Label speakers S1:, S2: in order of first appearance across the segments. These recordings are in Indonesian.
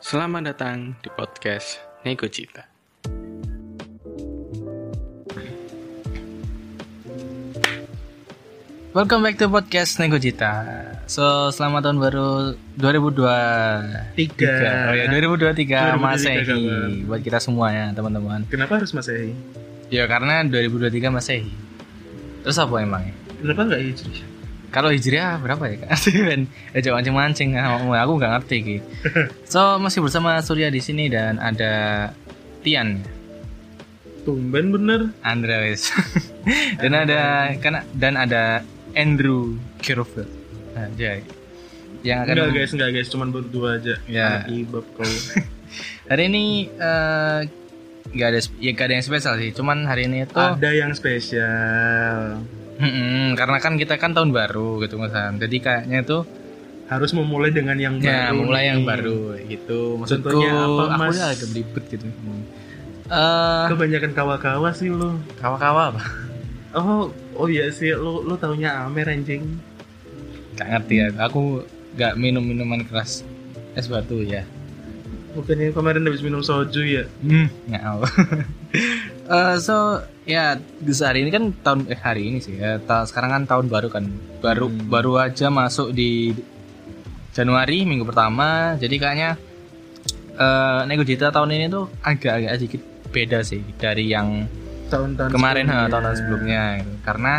S1: Selamat datang di podcast Nego Cita.
S2: Welcome back to podcast Nego Cita. So, selamat tahun baru 2023.
S3: Tiga.
S2: Oh ya, 2023,
S3: 2023
S2: Masehi
S3: kawan.
S2: buat kita semua ya, teman-teman.
S3: Kenapa harus Masehi?
S2: Ya karena 2023 Masehi. Terus apa emangnya?
S3: Kenapa nggak Hijri?
S2: Kalau Hijriah berapa ya, Kak? Ben, eh, jangan mancing-mancing. Ah, ngomong, Aku nggak ngerti, Ki. So, masih bersama Surya di sini dan ada Tian.
S3: Tumben bener.
S2: Andra wes. dan ada karena dan ada Andrew Kirfield. Anjay. Yang akan
S3: Enggak guys, enggak guys, cuman berdua aja.
S2: Ya.
S3: Anak Ibab kau.
S2: hari ini eh, nggak ada sp- ya nggak ada yang spesial sih. Cuman hari ini itu
S3: Ada yang spesial.
S2: Mm-mm, karena kan kita kan tahun baru gitu Mas. Jadi kayaknya itu
S3: Harus memulai dengan yang
S2: ya
S3: baru.
S2: mulai
S3: nih.
S2: yang baru gitu. Maksudku
S3: Contohnya apa,
S2: aku
S3: Mas?
S2: udah agak belibet gitu. Eh,
S3: Kebanyakan kawa-kawa sih lo.
S2: kawa-kawa apa?
S3: Oh, oh iya sih lo lo taunya Amer anjing.
S2: Gak ngerti ya. Aku nggak minum minuman keras es batu ya.
S3: Bukannya ya, kemarin habis minum soju ya?
S2: Hmm, ngau. Eh, so ya di hari ini kan tahun eh hari ini sih ya. ta- sekarang kan tahun baru kan. Baru
S3: Hmm.
S2: baru aja masuk di Januari minggu pertama. Jadi kayaknya eh Nego Dita tahun ini tuh agak-agak sedikit beda sih dari yang
S3: Tahun-tahun
S2: kemarin ha,
S3: sebelumnya.
S2: tahun-tahun sebelumnya gitu. Karena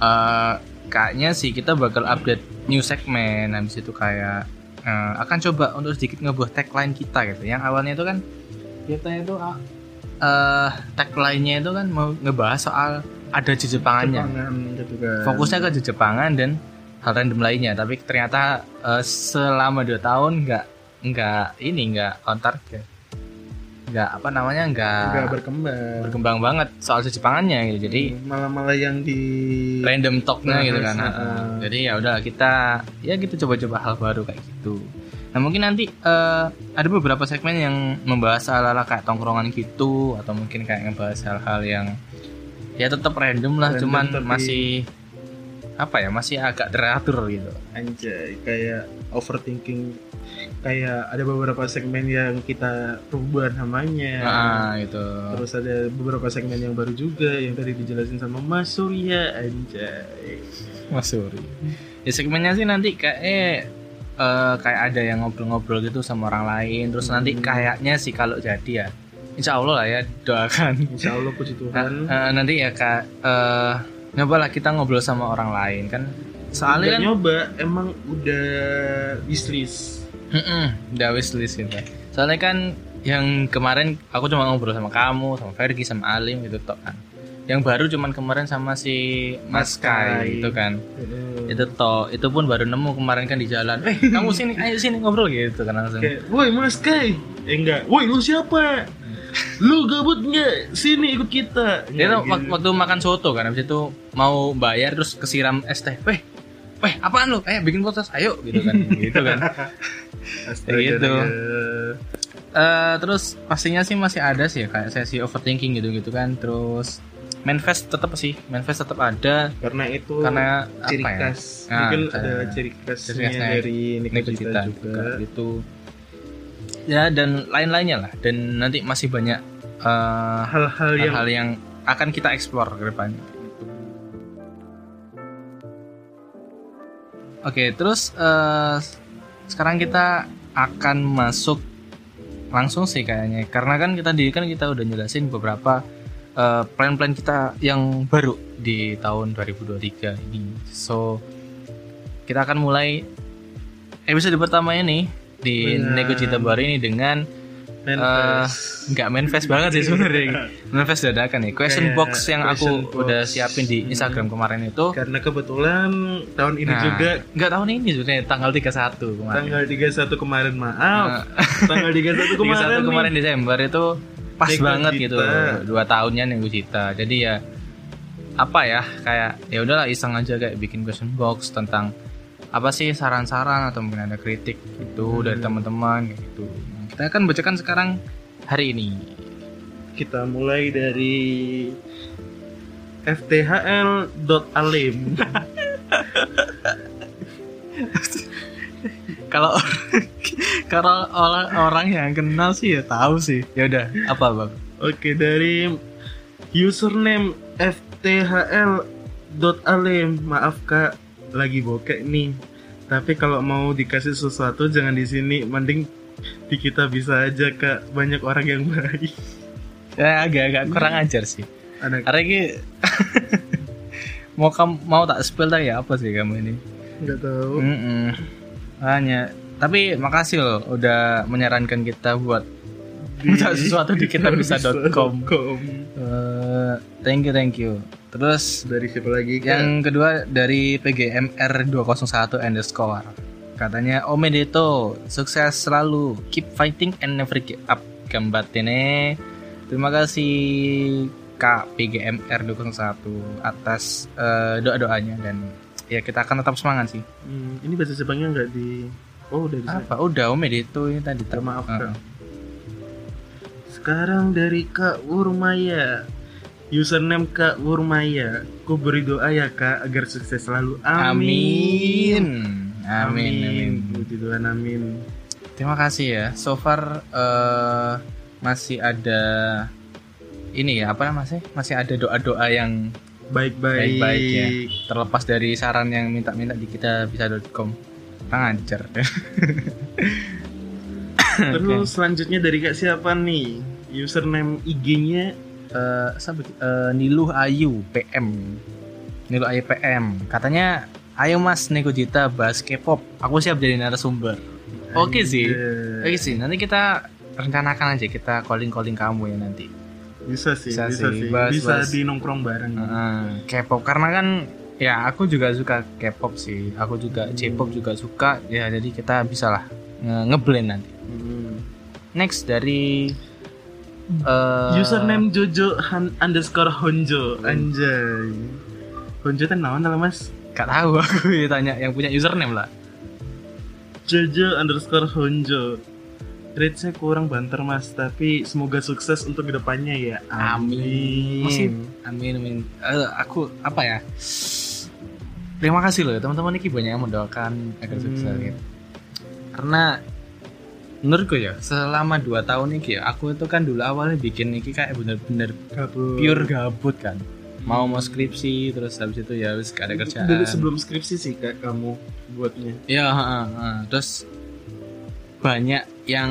S2: eh, kayaknya sih kita bakal update new segmen habis itu kayak eh, akan coba untuk sedikit ngebuat tagline kita gitu. Yang awalnya itu kan
S3: Iya,
S2: kita itu ah, eh tagline-nya itu kan mau ngebahas soal ada jejepangannya.
S3: Jepangan gitu kan.
S2: Fokusnya ke jejepangan dan hal random lainnya, tapi ternyata eh, selama 2 tahun nggak nggak ini nggak on target. Nggak apa namanya
S3: enggak berkembang.
S2: berkembang banget soal sejepangannya gitu. Jadi
S3: malah-malah yang di
S2: random talknya
S3: Nah,
S2: gitu kan.
S3: harus,
S2: Heeh.
S3: heeh.
S2: Jadi ya udah kita ya kita coba-coba hal baru kayak gitu. Nah mungkin nanti eh, ada beberapa segmen yang membahas ala-ala kayak tongkrongan gitu atau mungkin kayak ngebahas hal-hal yang ya tetap random lah,
S3: Random
S2: cuman
S3: tapi-
S2: masih apa ya masih agak teratur gitu.
S3: Anjay, kayak overthinking kayak ada beberapa segmen yang kita rubah namanya
S2: Nah, gitu.
S3: Ya. terus ada beberapa segmen yang baru juga yang tadi dijelasin sama Mas Surya anjay
S2: Mas Suri. Ya segmennya sih nanti kayak eh, eh, kayak ada yang ngobrol-ngobrol gitu sama orang lain. Terus nanti
S3: Hmm.
S2: kayaknya sih kalau jadi ya, Insya Allah lah ya doakan.
S3: Insya Allah puji Tuhan
S2: Eh, nanti ya kak, eh nyobalah kita ngobrol sama orang lain kan.
S3: Nggak
S2: Soalnya kan,
S3: nyoba emang udah bisnis
S2: Mm-mm, udah wishlist gitu. Soalnya kan yang kemarin aku cuma ngobrol sama kamu, sama Fergie, sama Alim gitu toh kan. Yang baru cuman kemarin sama si Mas
S3: Mas Kai.
S2: Kai gitu kan. itu toh itu pun baru nemu kemarin kan di jalan eh kamu sini ayo sini ngobrol gitu kan langsung
S3: kayak woi Mas Kai eh enggak woi lu siapa lu gabut nggak sini ikut kita
S2: dia tuh
S3: Nggak
S2: wak-
S3: gitu.
S2: waktu makan soto kan habis itu mau bayar terus kesiram es teh weh weh apaan lu eh bikin kulkas ayo gitu kan gitu kan
S3: Astaga,
S2: gitu.
S3: ya.
S2: Eh, terus pastinya sih masih ada sih ya, kayak sesi overthinking gitu gitu kan terus manifest tetap sih manifest tetap ada
S3: karena itu
S2: karena
S3: Oh, ciri
S2: apa ya
S3: khas
S2: Nah,
S3: mungkin
S2: kita-
S3: ada ciri khasnya
S2: ciri khasnya
S3: dari Nikita
S2: Nikocita
S3: juga,
S2: juga gitu ya dan lain-lainnya lah dan nanti masih banyak eh,
S3: hal-hal yang
S2: hal-hal yang akan kita explore ke depannya. Oke, terus eh, sekarang kita akan masuk langsung sih kayaknya, karena kan kita di kan kita udah jelasin beberapa eh, plan-plan kita yang baru di tahun 2023 ini. So kita akan mulai episode pertama ini di
S3: Benar.
S2: Nego Cita Baru ini dengan
S3: manifest.
S2: nggak manifest banget sih sebenarnya manifest dadakan ya question
S3: Kayak
S2: box yang
S3: question
S2: aku
S3: box.
S2: udah siapin di
S3: Hmm.
S2: Instagram kemarin itu
S3: karena kebetulan tahun ini
S2: Nah,
S3: juga
S2: nggak tahun ini sebenarnya tanggal 31 kemarin
S3: tanggal 31 kemarin maaf
S2: Nah,
S3: tanggal 31 kemarin
S2: 31
S3: nih.
S2: kemarin Desember itu pas
S3: Nego
S2: banget
S3: Cita.
S2: gitu dua tahunnya Nego Cita jadi ya apa ya kayak ya udahlah iseng aja kayak bikin question box tentang apa sih saran-saran atau mungkin ada kritik gitu
S3: Hmm.
S2: dari teman-teman kayak gitu Nah, kita akan bacakan sekarang hari ini
S3: kita mulai dari fthl.alim
S2: kalau Kalau orang orang yang kenal sih ya tahu sih. Ya udah, apa bang?
S3: Oke dari username fthl maaf kak lagi bokek nih. Tapi kalau mau dikasih sesuatu jangan di sini, mending di kita bisa aja kak. Banyak orang yang baik.
S2: Ya agak-agak kurang ajar sih.
S3: Anak
S2: Karena ini mau kamu mau tak spill tadi ya apa sih kamu ini?
S3: nggak tahu.
S2: Mm-mm. Hanya. Tapi makasih loh udah menyarankan kita buat minta sesuatu di kitabisa.com.
S3: kitabisa.com.
S2: Eh, thank you thank you. Terus
S3: Dari siapa lagi? Kak?
S2: Yang kedua dari PGMR201 underscore Katanya Omedeto, sukses selalu Keep fighting and never give up Gambatene Terima kasih Kak PGMR201 Atas eh, doa-doanya Dan ya kita akan tetap semangat sih
S3: Hmm, ini bahasa Jepangnya nggak di Oh udah di
S2: Apa? Udah Omedeto ini tadi Eh,
S3: Minta maaf
S2: Heeh.
S3: kak. Sekarang dari Kak Wurmaya. Username Kak Wurmaya. Ku beri doa ya Kak agar sukses selalu.
S2: Amin
S3: Amin.
S2: Amin, amin.
S3: Puji Tuhan amin.
S2: Terima kasih ya. So far eh, masih ada ini ya apa namanya? Masih ada doa-doa yang
S3: Baik-baik.
S2: Baik-baik ya. terlepas dari saran yang minta-minta di kita bisa.com. Ngajar.
S3: Terus selanjutnya dari Kak siapa nih? Username IG-nya
S2: Eh, siapa itu? Eh, Niluh Ayu PM. Niluh Ayu PM. Katanya Ayo Mas Nekojita bahas K-pop. Aku siap jadi narasumber. Oke sih.
S3: Anjay.
S2: Oke sih, nanti kita rencanakan aja kita calling-calling kamu ya nanti.
S3: Bisa sih,
S2: Bisa
S3: bisa,
S2: sih.
S3: sih.
S2: Bahas-
S3: bisa
S2: bahas.
S3: di nongkrong bareng.
S2: Heeh, K-pop karena kan ya aku juga suka K-pop sih. Aku juga J-pop juga suka. Ya jadi kita bisa lah nge- ngeblend nanti.
S3: Hmm.
S2: Next dari eh, Hmm.
S3: Username Jojo han- underscore Honjo Anjay Honjo kan naon lah mas
S2: gak tahu aku ditanya yang punya username lah.
S3: Jojo underscore Honjo Rate saya kurang banter mas Tapi semoga sukses untuk kedepannya ya Amin
S2: Masih amin amin. Eh, aku apa ya? Terima kasih loh teman-teman ini banyak yang mendoakan agar sukses
S3: Hmm.
S2: gitu. Karena menurutku ya selama 2 tahun ini ya aku itu kan dulu awalnya bikin ini kayak bener-bener
S3: Kabur.
S2: pure gabut kan mau mau skripsi terus habis itu ya habis gak ada kerjaan
S3: Dulu sebelum skripsi sih kak kamu buatnya
S2: ya heeh, heeh. terus banyak yang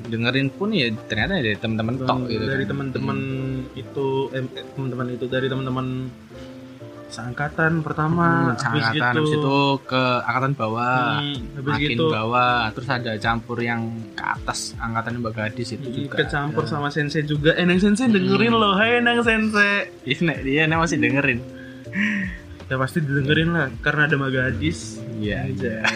S2: dengerin pun ya ternyata dari teman-teman tok gitu
S3: Dari
S2: kan.
S3: teman-teman itu eh, Teman-teman itu dari teman-teman Seangkatan pertama gitu,
S2: Hmm, angkatan habis itu ke angkatan bawah
S3: hmm, habis
S2: makin
S3: gitu
S2: bawah terus ada campur yang ke atas angkatan mbak gadis itu
S3: Hmm,
S2: Gitu juga ada.
S3: kecampur sama sensei juga. Eh, Nang sensei dengerin
S2: Hmm.
S3: loh. Hai Nang sensei.
S2: Iya, Nek, dia Nek, masih dengerin
S3: Ya pasti didengerin lah karena ada Mbak Gadis.
S2: iya
S3: Aja.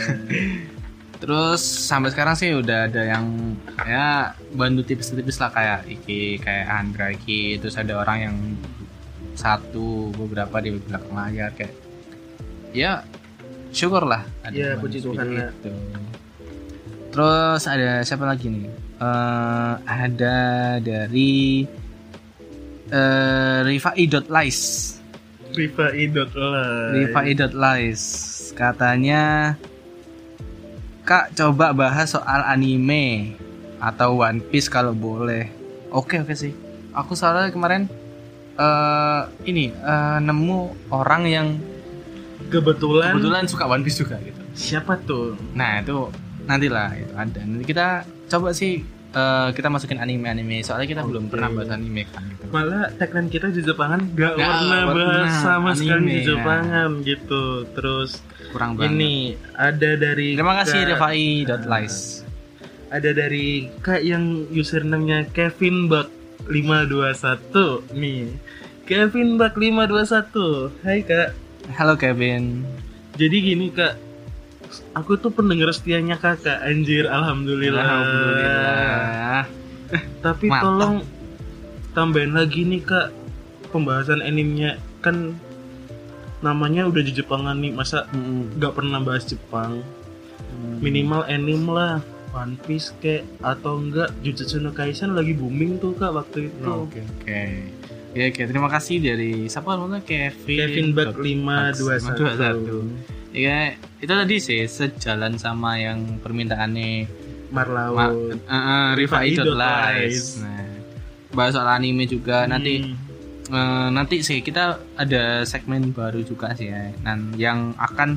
S2: Terus sampai sekarang sih udah ada yang ya bantu tipis-tipis lah kayak Iki, kayak Andra Iki, terus ada orang yang satu beberapa di belakang layar kayak ya syukurlah ada
S3: Ya,
S2: yang
S3: puji
S2: bantu
S3: Tuhan,
S2: seperti
S3: ya.
S2: itu. Terus ada siapa lagi nih? Eh, ada dari eh Rifai.lies
S3: Riva Idot lah.
S2: Rifai.lies katanya Kak coba bahas soal anime atau One Piece kalau boleh. Oke oke sih. Aku soalnya kemarin eh ini eh, nemu orang yang
S3: Kebetulan,
S2: kebetulan suka One Piece juga gitu.
S3: siapa tuh?
S2: Nah itu nantilah itu ada. Nanti kita coba sih eh, kita masukin anime anime. Soalnya kita belum
S3: Oke.
S2: pernah bahas anime kan gitu.
S3: Malah tagline kita di Jepangan gak
S2: Nggak
S3: pernah bahas
S2: pernah.
S3: sama
S2: Anime,
S3: sekali di
S2: ya.
S3: Jepangan gitu. Terus
S2: Kurang banget.
S3: ini ada dari
S2: Terima kasih
S3: Kak-
S2: Rifai.lies.
S3: Ada dari Kak yang username-nya Kevin Buck 521 nih. Kevin Buck 521. Hai Kak.
S2: Halo Kevin.
S3: Jadi gini kak, aku tuh pendengar setianya kakak. Anjir, alhamdulillah.
S2: Alhamdulillah.
S3: Tapi
S2: Mantap.
S3: tolong tambahin lagi nih kak pembahasan animenya kan namanya udah di Jepangan nih masa nggak pernah bahas Jepang minimal anime lah One Piece kek atau enggak Jujutsu no Kaisen lagi booming tuh kak waktu itu
S2: Oh, Oke oke. Ya oke terima kasih dari siapa namanya Kevin.
S3: Kevin Buck
S2: Buck
S3: 521
S2: Ya, Iya itu tadi sih sejalan sama yang permintaannya
S3: Marlau.
S2: Ma- uh,
S3: Rifai dot lies.
S2: Nah, bahas soal anime juga
S3: Hmm.
S2: nanti eh, nanti sih kita ada segmen baru juga sih ya. Dan yang akan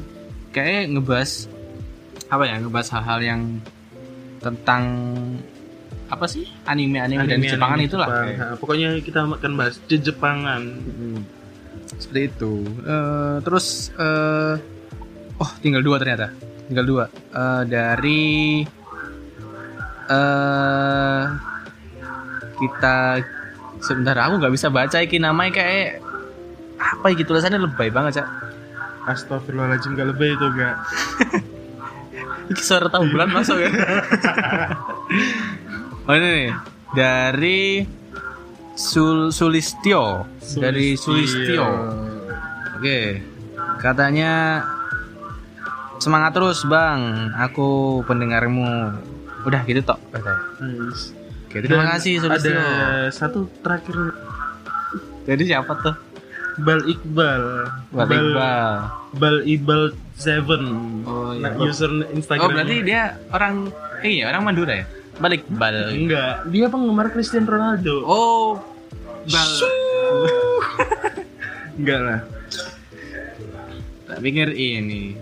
S2: kayak ngebahas apa ya ngebahas hal-hal yang tentang apa sih anime-anime dan Jepangan itulah. kayak.
S3: Nah, pokoknya kita akan bahas di Jepangan.
S2: Mm-mm. Seperti itu. Eh, terus eh, oh tinggal dua ternyata. Tinggal dua Eh, dari eh kita sebentar aku nggak bisa baca iki namanya kayak apa iki tulisannya lebay banget cak.
S3: Astagfirullahaladzim gak lebih itu gak.
S2: Iki suara tahu bulan masuk ya. oh ini nih dari Sul Sulistio. dari Sulistio. Oke, katanya semangat terus bang, aku pendengarmu. Udah gitu tok. katanya.
S3: Nice.
S2: Oke, terima
S3: Dan
S2: kasih sudah
S3: Ada
S2: setia.
S3: satu terakhir
S2: Jadi siapa tuh?
S3: Bal Iqbal.
S2: Bang Iqbal.
S3: Bal Iqbal Seven.
S2: Oh, iya.
S3: Nah, user Instagram.
S2: Oh berarti dia orang, eh iya, orang Madura ya? Balik bal.
S3: enggak. Dia penggemar Cristiano Ronaldo.
S2: Oh, bal.
S3: Enggak lah.
S2: Tak pikir ini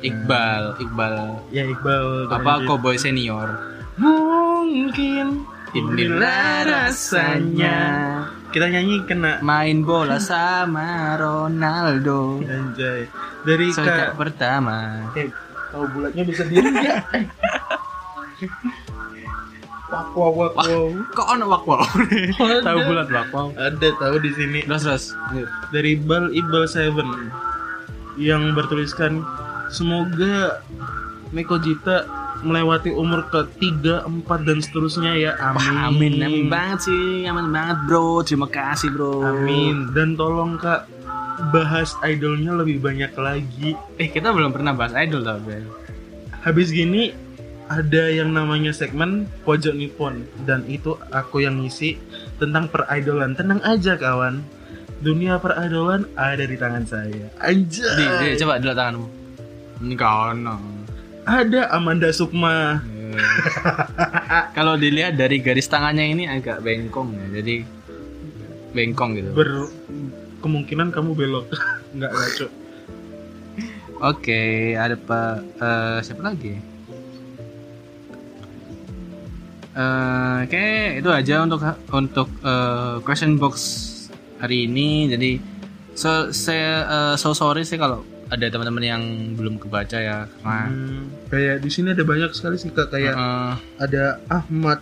S2: Iqbal, Iqbal
S3: Ya Iqbal.
S2: apa
S3: lanjut.
S2: Cowboy Senior.
S3: Mungkin
S2: Inilah rasanya
S3: Kita nyanyi kena
S2: main bola sama Ronaldo.
S3: Anjay Dari
S2: Sontak
S3: Kak
S2: pertama.
S3: Eh, tahu bulatnya bisa diri ya? Wak wow wak wow.
S2: Kok ono wakwal? Tahu bulat wakwal.
S3: Ada tahu di sini
S2: Terus terus. Lanjut.
S3: dari Bal Ibal Seven yang bertuliskan semoga Meko Jita melewati umur ke 3, 4 dan seterusnya ya. Amin.
S2: Amin, amin banget sih, amin banget bro. Terima kasih bro.
S3: Amin. Dan tolong Kak bahas idolnya lebih banyak lagi.
S2: Eh kita belum pernah bahas idol tau Bel.
S3: Habis gini ada yang namanya segmen pojok Nippon dan itu aku yang ngisi tentang peridolan. Tenang aja kawan. Dunia peridolan ada di tangan saya.
S2: Di, di,
S3: Anjay.
S2: coba dulu tanganmu. Eh. Ini kau no.
S3: Ada Amanda Sukma.
S2: Eh. Kalau dilihat dari garis tangannya ini agak bengkong ya, jadi bengkong gitu. Oke,
S3: Ber kemungkinan kamu belok. Enggak ngaco.
S2: ada pak eh, siapa lagi? Eh, Oke, itu aja untuk untuk eh, question box hari ini. Jadi so saya eh, so sorry sih kalau ada teman-teman yang belum kebaca ya karena
S3: Hmm, Iya. kayak di sini ada banyak sekali sih Kak kayak
S2: eh,
S3: ada Ahmad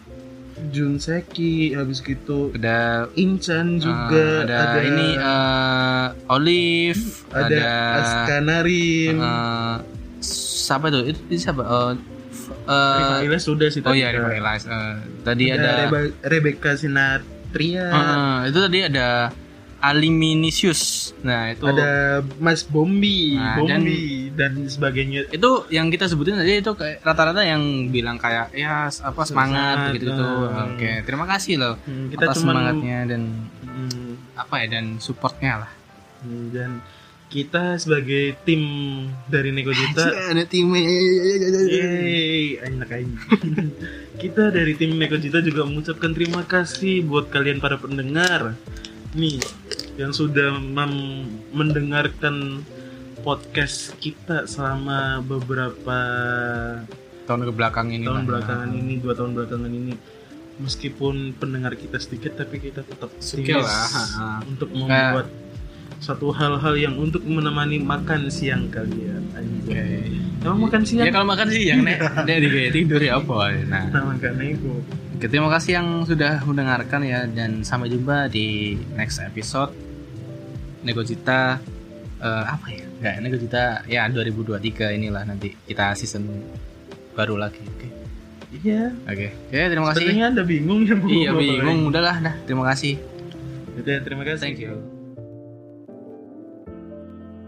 S3: Junseki habis gitu
S2: ada eh,
S3: Incan juga
S2: ada, ini eh, Olive,
S3: ada,
S2: ada,
S3: Askanarin.
S2: eh, siapa itu? Itu, itu siapa? Eh, f- eh,
S3: Rifaila sudah sih
S2: oh
S3: tadi,
S2: iya,
S3: Kak.
S2: Riva Elias. Eh, tadi
S3: Ada
S2: ada
S3: Rebe- Rebecca Sinatria,
S2: Heeh, itu tadi ada Aliminisius. Nah, itu
S3: ada Mas Bombi,
S2: Nah,
S3: Bombi dan, sebagainya.
S2: itu yang kita sebutin aja itu kayak rata-rata yang bilang kayak ya s- apa
S3: Semangat,
S2: semangat gitu gitu.
S3: nah.
S2: Oke, terima kasih loh
S3: Hmm, kita
S2: atas
S3: cuman
S2: semangatnya dan
S3: Hmm,
S2: apa ya dan supportnya lah.
S3: hmm, dan kita sebagai tim dari Nekojita,
S2: Iya, ada timnya. iya,
S3: yeay, enak aja. kita dari tim Nekojita juga mengucapkan terima kasih buat kalian para pendengar. Nih, yang sudah mem- mendengarkan podcast kita selama beberapa
S2: Tahun ke belakang ini.
S3: Iya. tahun
S2: lah. ya.
S3: belakangan ini dua tahun belakangan ini meskipun pendengar kita sedikit tapi kita tetap
S2: Suka lah,
S3: optimis
S2: Nah. ha-ha.
S3: untuk membuat satu hal-hal yang untuk menemani makan siang kalian
S2: Oke.
S3: Anjay. emang makan siang
S2: Ya kalau makan sih yang nek nek di kayak tidur ya apa. Nah,
S3: nah makan itu
S2: oke, terima kasih yang sudah mendengarkan ya dan sampai jumpa di next episode Negocita eh, apa ya? Enggak, Negocita ya 2023 inilah nanti kita season baru lagi. Oke.
S3: iya
S2: Oke. Oke, terima kasih.
S3: sebenarnya anda bingung ya Bu?
S2: Iya,
S3: Bapak.
S2: bingung udahlah dah. Terima kasih.
S3: Udah, Gitu ya, terima kasih
S2: Thank you.